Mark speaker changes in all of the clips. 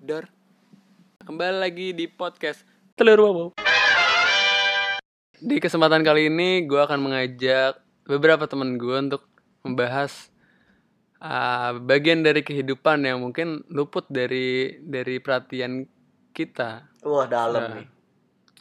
Speaker 1: Dor. Kembali lagi di podcast Telur Bobo. Di kesempatan kali ini gue akan mengajak beberapa teman gue untuk membahas ah, bagian dari kehidupan yang mungkin luput dari dari perhatian kita.
Speaker 2: Wah dalam
Speaker 1: Nah,
Speaker 2: nih.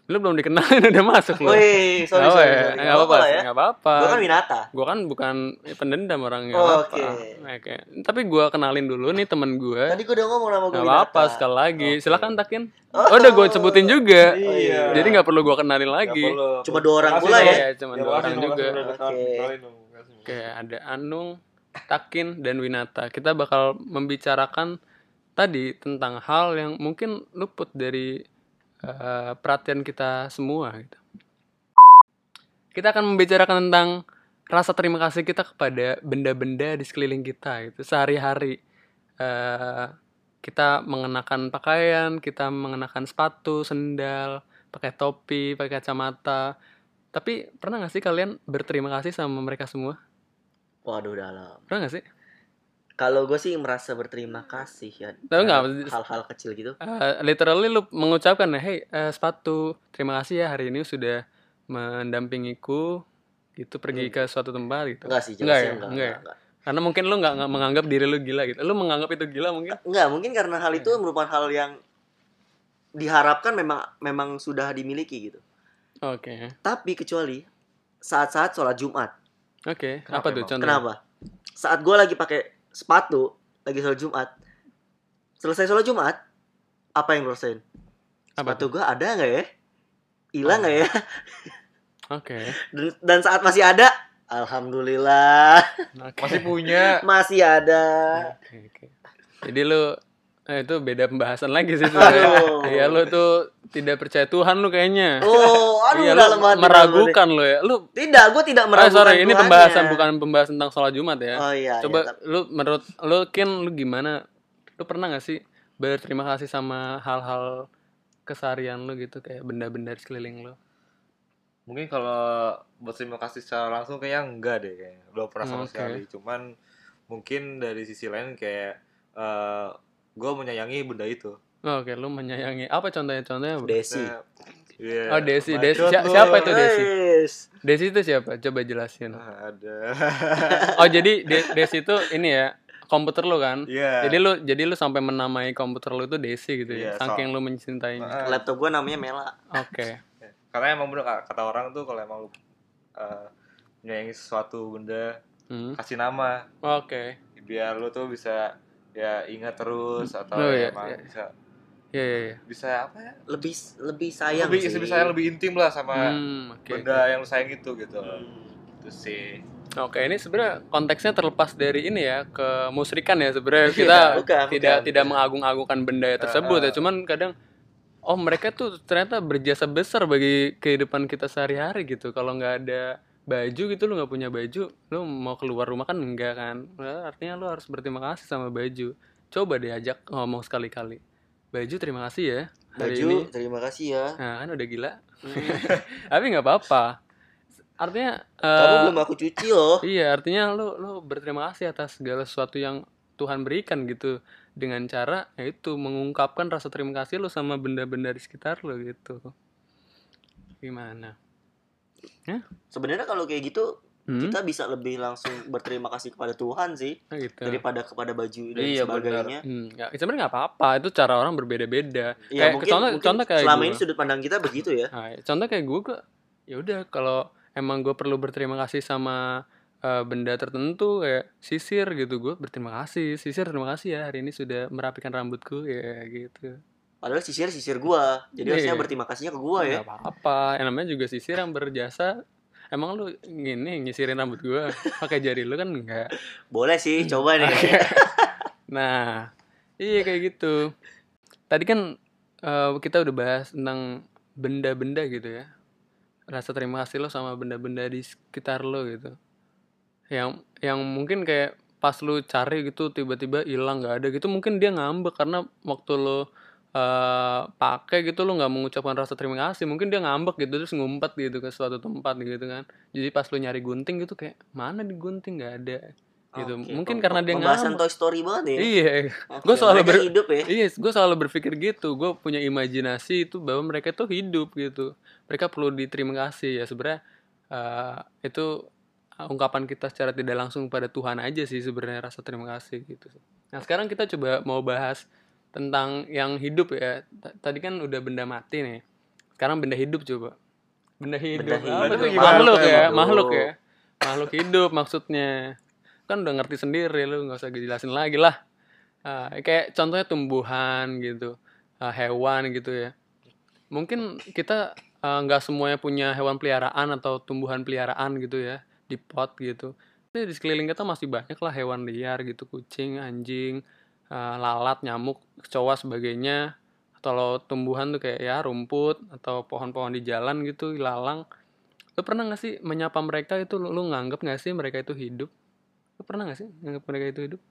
Speaker 1: Lu belum dikenalin udah masuk lu.
Speaker 2: Wih, sorry
Speaker 1: Nggak apa-apa ya,
Speaker 2: sorry. Oh,
Speaker 1: nggak
Speaker 2: iya, sorry.
Speaker 1: apa-apa,
Speaker 2: lah
Speaker 1: nggak apa-apa.
Speaker 2: Gua kan Winata.
Speaker 1: gue kan bukan pendendam orangnya
Speaker 2: Oh,
Speaker 1: apa
Speaker 2: oke.
Speaker 1: Oke. tapi gue kenalin dulu nih temen gue
Speaker 2: Tadi gua udah ngomong nama gua
Speaker 1: Eh? nggak
Speaker 2: Winata.
Speaker 1: apa-apa sekali lagi
Speaker 3: Oke.
Speaker 1: silakan takin
Speaker 2: iya, Oh.
Speaker 1: oh, udah gue sebutin juga
Speaker 3: Oh, iya.
Speaker 1: jadi nggak perlu gue kenalin lagi
Speaker 2: Cuma dua orang
Speaker 3: Makasih,
Speaker 2: pula ya.
Speaker 3: makasih.
Speaker 1: cuma
Speaker 3: Ya,
Speaker 1: dua
Speaker 3: makasih,
Speaker 1: orang
Speaker 3: makasih,
Speaker 1: juga
Speaker 3: udah kenalin,
Speaker 2: Oke.
Speaker 3: kenalin dong, makasih.
Speaker 1: oke ada Anung Takin dan Winata kita bakal membicarakan tadi tentang hal yang mungkin luput dari eh, perhatian kita semua gitu kita akan membicarakan tentang rasa terima kasih kita kepada benda-benda di sekeliling kita gitu sehari-hari Eh, kita mengenakan pakaian kita mengenakan sepatu sendal pakai topi pakai kacamata tapi pernah nggak sih kalian berterima kasih sama mereka semua
Speaker 2: Waduh dalam.
Speaker 1: pernah nggak sih
Speaker 2: Kalau gue sih merasa berterima kasih ya.
Speaker 1: Tahu nggak?
Speaker 2: terhadap Hal-hal kecil gitu.
Speaker 1: Eh, literally lu mengucapkan hey eh, sepatu terima kasih ya hari ini sudah mendampingiku gitu pergi
Speaker 2: Hmm.
Speaker 1: ke suatu tempat gitu
Speaker 2: Enggak sih,
Speaker 1: Nggak
Speaker 2: jelasnya
Speaker 1: ya?
Speaker 2: enggak.
Speaker 1: Nggak
Speaker 2: Enggak,
Speaker 1: ya? karena mungkin lu nggak nggak menganggap diri lu gila gitu lu menganggap itu gila mungkin
Speaker 2: mungkin karena hal itu
Speaker 1: ya?
Speaker 2: merupakan hal yang diharapkan memang memang sudah dimiliki gitu.
Speaker 1: oke
Speaker 2: Tapi kecuali saat-saat sholat Jumat.
Speaker 1: oke
Speaker 3: Kenapa
Speaker 1: apa tuh
Speaker 3: emang?
Speaker 1: contohnya
Speaker 2: Kenapa? Saat gue lagi pakai sepatu, lagi sholat Jumat. Selesai sholat Jumat, apa yang lo rasain?
Speaker 1: apa tuh Oh.
Speaker 2: Sepatu gue ada nggak ya? Hilang nggak ya?
Speaker 1: oke
Speaker 2: Dan, dan saat masih ada, alhamdulillah
Speaker 1: oke
Speaker 3: Masih punya.
Speaker 2: masih ada.
Speaker 1: Oke, oke. jadi lu eh, itu beda pembahasan lagi sih sebenarnya
Speaker 2: Aduh.
Speaker 1: iya lu tuh tidak percaya Tuhan lu kayaknya
Speaker 2: Oh, aduh
Speaker 1: iya, lu
Speaker 2: dalam hati, dalam hati.
Speaker 1: meragukan lu ya lu
Speaker 2: Tidak, gue tidak
Speaker 1: Oh,
Speaker 2: meragukan. ya.
Speaker 1: sorry, ini
Speaker 2: Tuhannya.
Speaker 1: pembahasan bukan pembahasan tentang sholat Jumat ya.
Speaker 2: Oh iya. iya,
Speaker 1: Coba
Speaker 2: tapi-
Speaker 1: lu menurut lu Kin lu gimana? Lu pernah gak sih berterima kasih sama hal-hal keseharian lu gitu kayak benda-benda di sekeliling lu?
Speaker 3: Mungkin kalau berterima kasih secara langsung kayaknya enggak deh kayaknya. Belum pernah sama
Speaker 1: Oke.
Speaker 3: sekali. Cuman mungkin dari sisi lain kayak eh gue menyayangi benda itu.
Speaker 1: Oh, Oke, lu menyayangi. Apa contohnya contohnya? Bro?
Speaker 2: Desi.
Speaker 3: Nah, iya.
Speaker 1: Oh, Desi,
Speaker 3: My
Speaker 1: Desi.
Speaker 3: God,
Speaker 1: Si-
Speaker 3: lu.
Speaker 1: siapa itu? Desi.
Speaker 2: Yes.
Speaker 1: Desi itu siapa? Coba jelasin.
Speaker 3: Ah, Ada.
Speaker 1: Oh, jadi De- Desi itu ini ya, komputer lu kan?
Speaker 3: Iya.
Speaker 1: Jadi lu jadi lu sampai menamai komputer lu itu Desi gitu ya.
Speaker 3: Iya, so-
Speaker 1: Saking lu mencintainya.
Speaker 3: Ah,
Speaker 2: Laptop gue namanya Mela.
Speaker 1: Oke.
Speaker 3: Karena emang bener kata orang tuh kalau emang lu eh, menyayangi sesuatu benda
Speaker 1: Hmm.
Speaker 3: kasih nama
Speaker 1: Oke.
Speaker 3: biar lu tuh bisa ya ingat terus atau
Speaker 1: Oh, iya,
Speaker 3: emang
Speaker 1: iya.
Speaker 3: bisa
Speaker 1: Iya, iya, iya.
Speaker 3: bisa apa ya
Speaker 2: Lebih lebih sayang.
Speaker 3: lebih
Speaker 2: sih.
Speaker 3: bisa lebih intim lah sama
Speaker 1: Hmm, oke. Hmm.
Speaker 3: benda yang lu sayang itu gitu itu sih
Speaker 1: Oke, ini sebenarnya konteksnya terlepas dari ini ya ke musrikan ya sebenarnya
Speaker 2: Iya,
Speaker 1: kita
Speaker 2: bukan,
Speaker 1: tidak
Speaker 2: bukan.
Speaker 1: tidak mengagung-agungkan benda tersebut ya,
Speaker 3: Ah.
Speaker 1: cuman kadang oh mereka tuh ternyata berjasa besar bagi kehidupan kita sehari-hari gitu. Kalau nggak ada baju gitu lu nggak punya baju, lu mau keluar rumah kan enggak kan? Nah, Artinya lu harus berterima kasih sama baju. Coba diajak ngomong sekali-kali. Baju terima kasih ya hari
Speaker 2: Baju, Hmm.
Speaker 1: ini.
Speaker 2: terima kasih ya.
Speaker 1: Nah, kan udah gila. Tapi nggak apa-apa. Artinya
Speaker 2: Kamu
Speaker 1: eh,
Speaker 2: belum aku cuci loh.
Speaker 1: Iya, artinya lu lu berterima kasih atas segala sesuatu yang Tuhan berikan gitu dengan cara yaitu mengungkapkan rasa terima kasih lu sama benda-benda di sekitar lu gitu. Gimana?
Speaker 2: Sebenarnya kalau kayak gitu
Speaker 1: Hmm?
Speaker 2: kita bisa lebih langsung berterima kasih kepada Tuhan sih
Speaker 1: Nah, gitu.
Speaker 2: daripada kepada baju dan
Speaker 3: Iya,
Speaker 2: sebagainya.
Speaker 1: Hmm, ya, sebenarnya nggak apa-apa, itu cara orang berbeda-beda.
Speaker 2: Ya
Speaker 1: Kayak-
Speaker 2: mungkin,
Speaker 1: contoh-
Speaker 2: mungkin
Speaker 1: contoh kayak gitu
Speaker 2: selama
Speaker 1: gua.
Speaker 2: ini sudut pandang kita begitu ya.
Speaker 1: Nah, contoh kayak gue, gue ya udah kalau emang gue perlu berterima kasih sama eh, benda tertentu kayak sisir gitu gue berterima kasih sisir terima kasih ya hari ini sudah merapikan rambutku ya gitu
Speaker 2: Padahal sisir sisir gua. Jadi
Speaker 1: Iya,
Speaker 2: harusnya
Speaker 1: iya.
Speaker 2: berterima kasihnya ke gua ya.
Speaker 1: Nggak apa-apa. Yang namanya juga sisir yang berjasa. Emang lu gini nyisirin rambut gua pakai jari lu kan enggak.
Speaker 2: Boleh sih,
Speaker 1: Hmm.
Speaker 2: coba nih.
Speaker 1: Nah, iya kayak gitu. Tadi kan eh, kita udah bahas tentang benda-benda gitu ya. Rasa terima kasih lo sama benda-benda di sekitar lo gitu. Yang yang mungkin kayak pas lu cari gitu tiba-tiba hilang nggak ada gitu mungkin dia ngambek karena waktu lo eh pakai gitu lo nggak mengucapkan rasa terima kasih mungkin dia ngambek gitu terus ngumpet gitu ke suatu tempat gitu kan jadi pas lu nyari gunting gitu kayak mana di gunting nggak ada gitu.
Speaker 2: Oke,
Speaker 1: Mungkin
Speaker 2: pem-
Speaker 1: karena dia
Speaker 2: pembahasan
Speaker 1: ngamuk.
Speaker 2: Toy Story banget ya.
Speaker 1: Iya,
Speaker 2: Oke,
Speaker 1: Gua selalu
Speaker 2: mereka
Speaker 1: ber-
Speaker 2: hidup ya.
Speaker 1: iya, gue selalu berpikir gitu. Gue punya imajinasi itu bahwa mereka tuh hidup gitu. Mereka perlu diterima kasih ya sebenarnya eh, itu ungkapan kita secara tidak langsung pada Tuhan aja sih sebenarnya rasa terima kasih gitu. Nah sekarang kita coba mau bahas tentang yang hidup ya. T- Tadi kan udah benda mati nih. Sekarang benda hidup coba. Benda hidup,
Speaker 2: Benda
Speaker 1: apa
Speaker 2: hidup.
Speaker 1: tuh?
Speaker 3: Gimana
Speaker 1: Makhluk
Speaker 3: tuh
Speaker 1: ya,
Speaker 2: emang?
Speaker 1: makhluk ya. Makhluk hidup maksudnya. Kan udah ngerti sendiri lu nggak usah jelasin lagi lah. Ah, kayak contohnya tumbuhan gitu, ah, hewan gitu ya. Mungkin kita ah, nggak semuanya punya hewan peliharaan atau tumbuhan peliharaan gitu ya di pot gitu. Tapi di sekeliling kita masih banyak lah hewan liar gitu, kucing, anjing, ah, lalat, nyamuk, kecoa sebagainya. Atau lo tumbuhan tuh kayak ya rumput atau pohon-pohon di jalan gitu, ilalang. Lo pernah nggak sih menyapa mereka itu lo, lo nganggap nggak sih mereka itu hidup? Lo pernah nggak sih nganggap mereka itu hidup?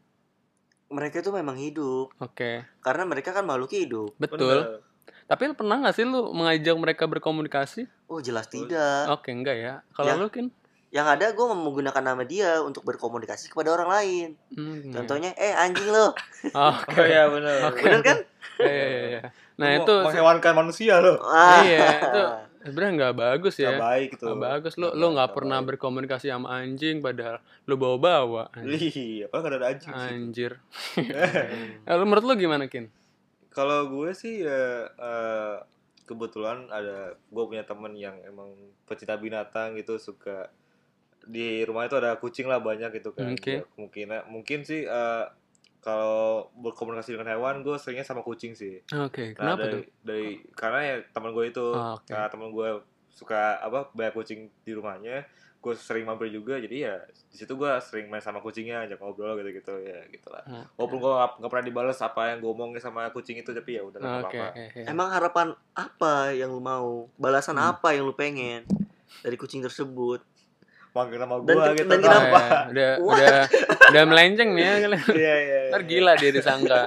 Speaker 2: Mereka itu memang hidup
Speaker 1: Oke.
Speaker 2: karena mereka kan makhluk hidup.
Speaker 1: Betul. Tapi lu pernah nggak sih lu mengajak mereka berkomunikasi?
Speaker 2: Oh, jelas
Speaker 3: Betul.
Speaker 2: tidak.
Speaker 1: Oke, enggak ya. Kalau
Speaker 2: Ya.
Speaker 1: lu kan
Speaker 2: Yang ada gue menggunakan nama dia untuk berkomunikasi kepada orang lain.
Speaker 1: hmm,
Speaker 2: Contohnya, eh anjing lo.
Speaker 1: ya. Oke.
Speaker 3: gitu. Oh iya benar.
Speaker 1: Oke.
Speaker 2: Bener kan?
Speaker 1: Iya, iya, iya. Nah,
Speaker 3: Lu
Speaker 1: itu
Speaker 3: mau- menghewankan manusia lo.
Speaker 2: Wah.
Speaker 1: Iya, itu- sebenarnya nggak bagus
Speaker 3: Nggak
Speaker 1: ya.
Speaker 3: baik tuh.
Speaker 1: Nggak bagus lu lu nggak pernah
Speaker 3: baik.
Speaker 1: berkomunikasi sama anjing padahal lu bawa-bawa. anjing.
Speaker 3: Iya, padahal nggak ada anjing sih.
Speaker 1: Anjir. Eh, lu menurut lu gimana, Kin?
Speaker 3: Kalau gue sih ya, eh, kebetulan ada gue punya temen yang emang pecinta binatang gitu suka di rumah itu ada kucing lah banyak gitu kan.
Speaker 1: Hmm, Oke.
Speaker 3: Ya, kemungkinan mungkin sih eh, kalau berkomunikasi dengan hewan gue seringnya sama kucing sih.
Speaker 1: Oke,
Speaker 3: Nah,
Speaker 1: kenapa
Speaker 3: dari,
Speaker 1: tuh?
Speaker 3: dari karena ya teman gue itu
Speaker 1: Oh, oke.
Speaker 3: Nah, temen gue suka apa banyak kucing di rumahnya. Gue sering mampir juga, jadi ya di situ gue sering main sama kucingnya, ajak ngobrol gitu-gitu ya gitulah.
Speaker 1: Oh, Oke.
Speaker 3: Walaupun gue gak, pernah dibales apa yang gue omongin sama kucing itu, tapi ya udah nggak
Speaker 1: Oke,
Speaker 3: apa-apa.
Speaker 1: oke, oke.
Speaker 2: Emang harapan apa yang lu mau? Balasan
Speaker 1: Hmm.
Speaker 2: apa yang lu pengen dari kucing tersebut?
Speaker 3: Manggil nama
Speaker 2: Dan
Speaker 3: gue
Speaker 2: ke-
Speaker 3: gitu.
Speaker 2: dan
Speaker 3: tau.
Speaker 2: kenapa?
Speaker 1: Eh, udah
Speaker 2: What?
Speaker 1: udah udah melenceng nih ya kalian.
Speaker 3: Iya, iya.
Speaker 1: Ntar
Speaker 3: iya.
Speaker 1: gila dia disangka.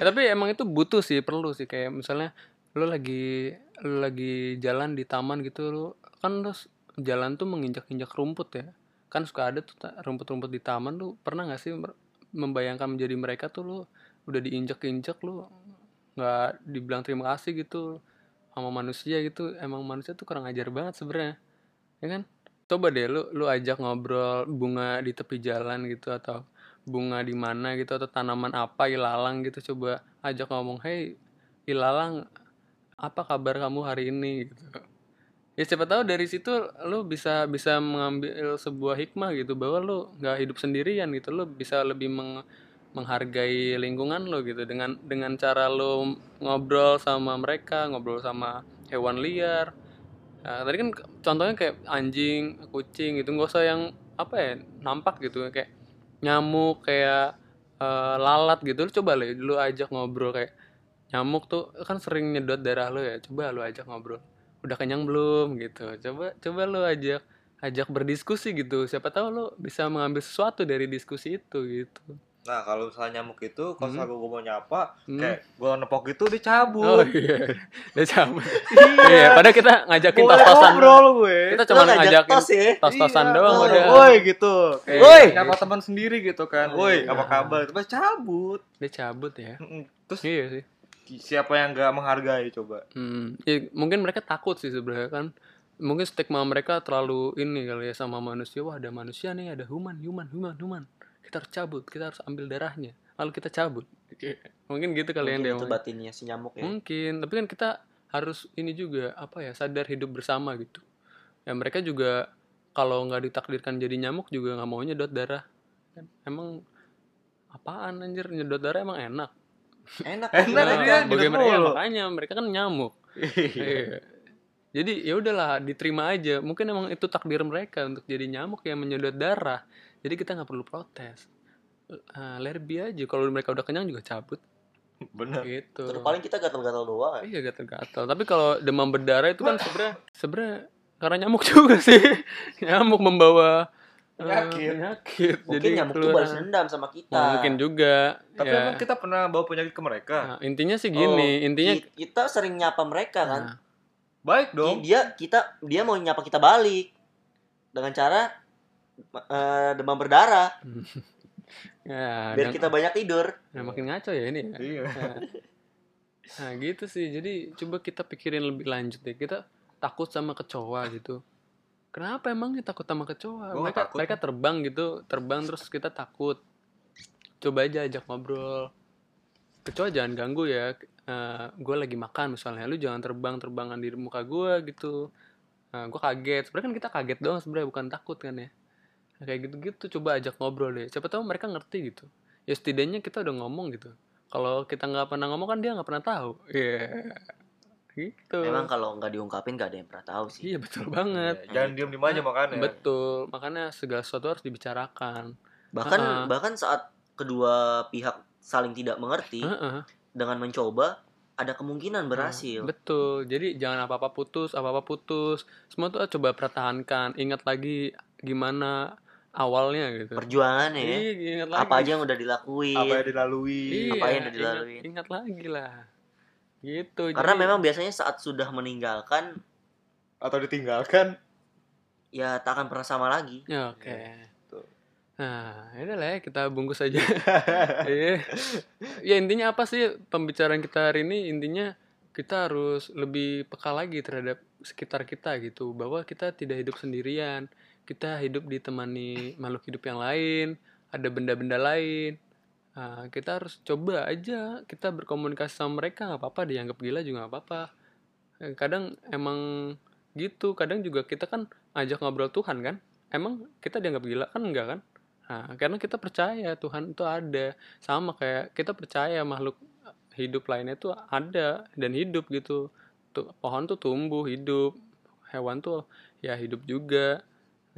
Speaker 1: Ya, tapi emang itu butuh sih, perlu sih kayak misalnya lu lagi lu lagi jalan di taman gitu lu kan lu s- jalan tuh menginjak-injak rumput ya. Kan suka ada tuh ta- rumput-rumput di taman lu pernah nggak sih mer- membayangkan menjadi mereka tuh lu udah diinjak-injak lu nggak dibilang terima kasih gitu sama manusia gitu. Emang manusia tuh kurang ajar banget sebenarnya. Ya kan? Coba deh lu lu ajak ngobrol bunga di tepi jalan gitu atau bunga di mana gitu atau tanaman apa ilalang gitu coba ajak ngomong hey ilalang apa kabar kamu hari ini gitu ya siapa tahu dari situ lu bisa bisa mengambil sebuah hikmah gitu bahwa lu nggak hidup sendirian gitu lu bisa lebih meng- menghargai lingkungan lo gitu dengan dengan cara lu ngobrol sama mereka ngobrol sama hewan liar Nah, tadi kan ke- contohnya kayak anjing kucing gitu nggak usah yang apa ya nampak gitu kayak nyamuk kayak eh, lalat gitu lu coba deh lu ajak ngobrol kayak nyamuk tuh kan sering nyedot darah lu ya coba lu ajak ngobrol udah kenyang belum gitu coba coba lu ajak ajak berdiskusi gitu siapa tahu lu bisa mengambil sesuatu dari diskusi itu gitu
Speaker 3: Nah, kalau misalnya nyamuk itu, kalau
Speaker 1: Hmm.
Speaker 3: misalnya gue mau nyapa,
Speaker 1: Hmm.
Speaker 3: kayak gue nepok gitu, itu, dia
Speaker 1: oh
Speaker 3: cabut.
Speaker 1: iya udah cabut iya padahal kita ngajakin
Speaker 3: Gue
Speaker 1: tos-tosan
Speaker 3: ngobrol gue.
Speaker 1: kita cuma
Speaker 2: Lu ngajak
Speaker 1: ngajakin
Speaker 2: tos ya?
Speaker 1: tos-tosan
Speaker 3: Iya,
Speaker 1: doang
Speaker 3: woi,
Speaker 1: udah
Speaker 3: Woi gitu.
Speaker 1: Iya.
Speaker 3: Woi, nyapa teman sendiri gitu kan. Woi,
Speaker 2: Iya.
Speaker 3: apa kabar? Terus cabut.
Speaker 1: dia cabut ya
Speaker 3: Mm-mm. Terus
Speaker 1: iya sih
Speaker 3: siapa yang gak menghargai coba?
Speaker 1: Hmm, ya, mungkin mereka takut sih sebenarnya kan. Mungkin stigma mereka terlalu ini kali ya sama manusia. Wah, ada manusia nih, ada human, human, human, human. Kita harus cabut, kita harus ambil darahnya. Lalu kita cabut.
Speaker 3: Iya.
Speaker 1: Mungkin gitu kali yang
Speaker 2: Mungkin
Speaker 1: dia
Speaker 2: itu
Speaker 1: omongin.
Speaker 2: batinnya si nyamuk ya.
Speaker 1: Mungkin, tapi kan kita harus ini juga apa ya, sadar hidup bersama gitu. Ya mereka juga kalau nggak ditakdirkan jadi nyamuk juga nggak mau nyedot darah. Kan, Emang apaan anjir nyedot darah emang enak.
Speaker 2: Eh, Enak. gitu. kan?
Speaker 3: Enak
Speaker 2: mereka.
Speaker 3: dia, nyedot
Speaker 1: bagaimana ya,
Speaker 3: mulu.
Speaker 1: makanya mereka kan nyamuk. Iya. Jadi ya udahlah diterima aja. Mungkin emang itu takdir mereka untuk jadi nyamuk yang menyedot darah. Jadi kita nggak perlu protes. Uh, let it be aja. Kalau mereka udah kenyang juga cabut
Speaker 3: Bener.
Speaker 1: gitu.
Speaker 2: Terus paling kita gatal-gatal doang. ya.
Speaker 1: Iya gatal-gatal. Tapi kalau demam berdarah itu kan sebenarnya sebenarnya karena nyamuk juga sih. nyamuk membawa uh,
Speaker 3: Penyakit.
Speaker 1: penyakit.
Speaker 2: Mungkin nyamuk tuh
Speaker 1: keluaran.
Speaker 2: balas dendam sama kita.
Speaker 1: Hmm, Mungkin juga.
Speaker 3: Tapi
Speaker 1: ya.
Speaker 3: emang kita pernah bawa penyakit ke mereka?
Speaker 1: Nah, intinya sih gini, intinya
Speaker 2: Ki- kita sering nyapa mereka kan.
Speaker 1: Nah,
Speaker 3: Baik
Speaker 2: Ki-
Speaker 3: dong.
Speaker 2: Dia kita dia mau
Speaker 1: Nah,
Speaker 2: nyapa kita balik dengan cara eh, demam berdarah.
Speaker 1: Ya,
Speaker 2: biar
Speaker 1: dan-
Speaker 2: kita banyak tidur
Speaker 1: dan makin ngaco ya ini. ya.
Speaker 3: Iya.
Speaker 1: Nah, nah, gitu sih. Jadi coba kita pikirin lebih lanjut deh. Kita takut sama kecoa gitu. Kenapa emangnya takut sama kecoa?
Speaker 3: Gua nggak
Speaker 1: mereka
Speaker 3: takut.
Speaker 1: mereka terbang gitu, terbang terus kita takut. Coba aja ajak ngobrol. Kecoa jangan ganggu ya. gue lagi makan misalnya, lu jangan terbang-terbangan di muka gue gitu. gue kaget. Sebenarnya kan kita kaget doang sebenarnya bukan takut kan ya. Nah, kayak gitu-gitu coba ajak ngobrol deh. Siapa tahu mereka ngerti gitu. Ya setidaknya kita udah ngomong gitu kalau kita nggak pernah ngomong kan dia nggak pernah tahu iya gitu
Speaker 2: memang kalau nggak diungkapin nggak ada yang pernah tahu sih
Speaker 1: iya betul banget
Speaker 3: Iya, Jangan diem diem aja
Speaker 2: iya.
Speaker 3: makanya.
Speaker 1: betul makanya segala sesuatu harus dibicarakan
Speaker 2: bahkan
Speaker 1: Heeh.
Speaker 2: bahkan saat kedua pihak saling tidak mengerti
Speaker 1: Heeh,
Speaker 2: dengan mencoba ada kemungkinan berhasil
Speaker 1: betul jadi jangan apa apa putus apa apa putus semua tuh coba pertahankan ingat lagi gimana awalnya gitu
Speaker 2: perjuangannya ya.
Speaker 1: iya ingat lagi
Speaker 2: apa aja yang udah dilakuin
Speaker 3: Apa yang dilalui?
Speaker 1: iya,
Speaker 2: apa yang udah
Speaker 1: ingat-
Speaker 2: dilaluin.
Speaker 1: ingat, lagi lah gitu
Speaker 2: karena
Speaker 1: jadi-
Speaker 2: memang biasanya saat sudah meninggalkan
Speaker 3: Atau ditinggalkan?
Speaker 2: ya tak akan pernah sama lagi
Speaker 1: ya, oke
Speaker 3: betul.
Speaker 1: Nah, ini lah ya, kita bungkus aja. Iya. ya intinya apa sih pembicaraan kita hari ini? Intinya kita harus lebih peka lagi terhadap sekitar kita gitu, bahwa kita tidak hidup sendirian. Kita hidup ditemani makhluk hidup yang lain, ada benda-benda lain. Nah, kita harus coba aja kita berkomunikasi sama mereka nggak apa-apa dianggap gila juga nggak apa-apa. Eh, Kadang emang gitu, kadang juga kita kan ajak ngobrol Tuhan kan. Emang kita dianggap gila kan enggak kan? Nah, karena kita percaya Tuhan itu ada. Sama kayak kita percaya makhluk eh, hidup lainnya itu ada dan hidup gitu. Tuh, pohon tuh tumbuh, hidup. Hewan tuh ya hidup juga.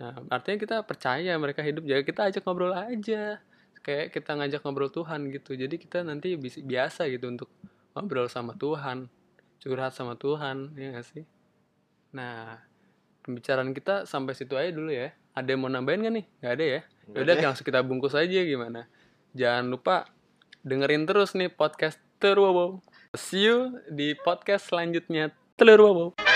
Speaker 1: Nah, artinya kita percaya mereka hidup. Jadi kita ajak ngobrol aja. Kayak kita ngajak ngobrol Tuhan gitu. Jadi kita nanti bis- biasa gitu untuk ngobrol sama Tuhan. Curhat sama Tuhan, ya nggak sih? Nah, pembicaraan kita sampai situ aja dulu ya. Ada yang mau nambahin nggak nih? Nggak ada ya? Yaudah langsung kita bungkus aja gimana. Jangan lupa dengerin terus nih podcast Telur Wow. See you di podcast selanjutnya Telur Wow.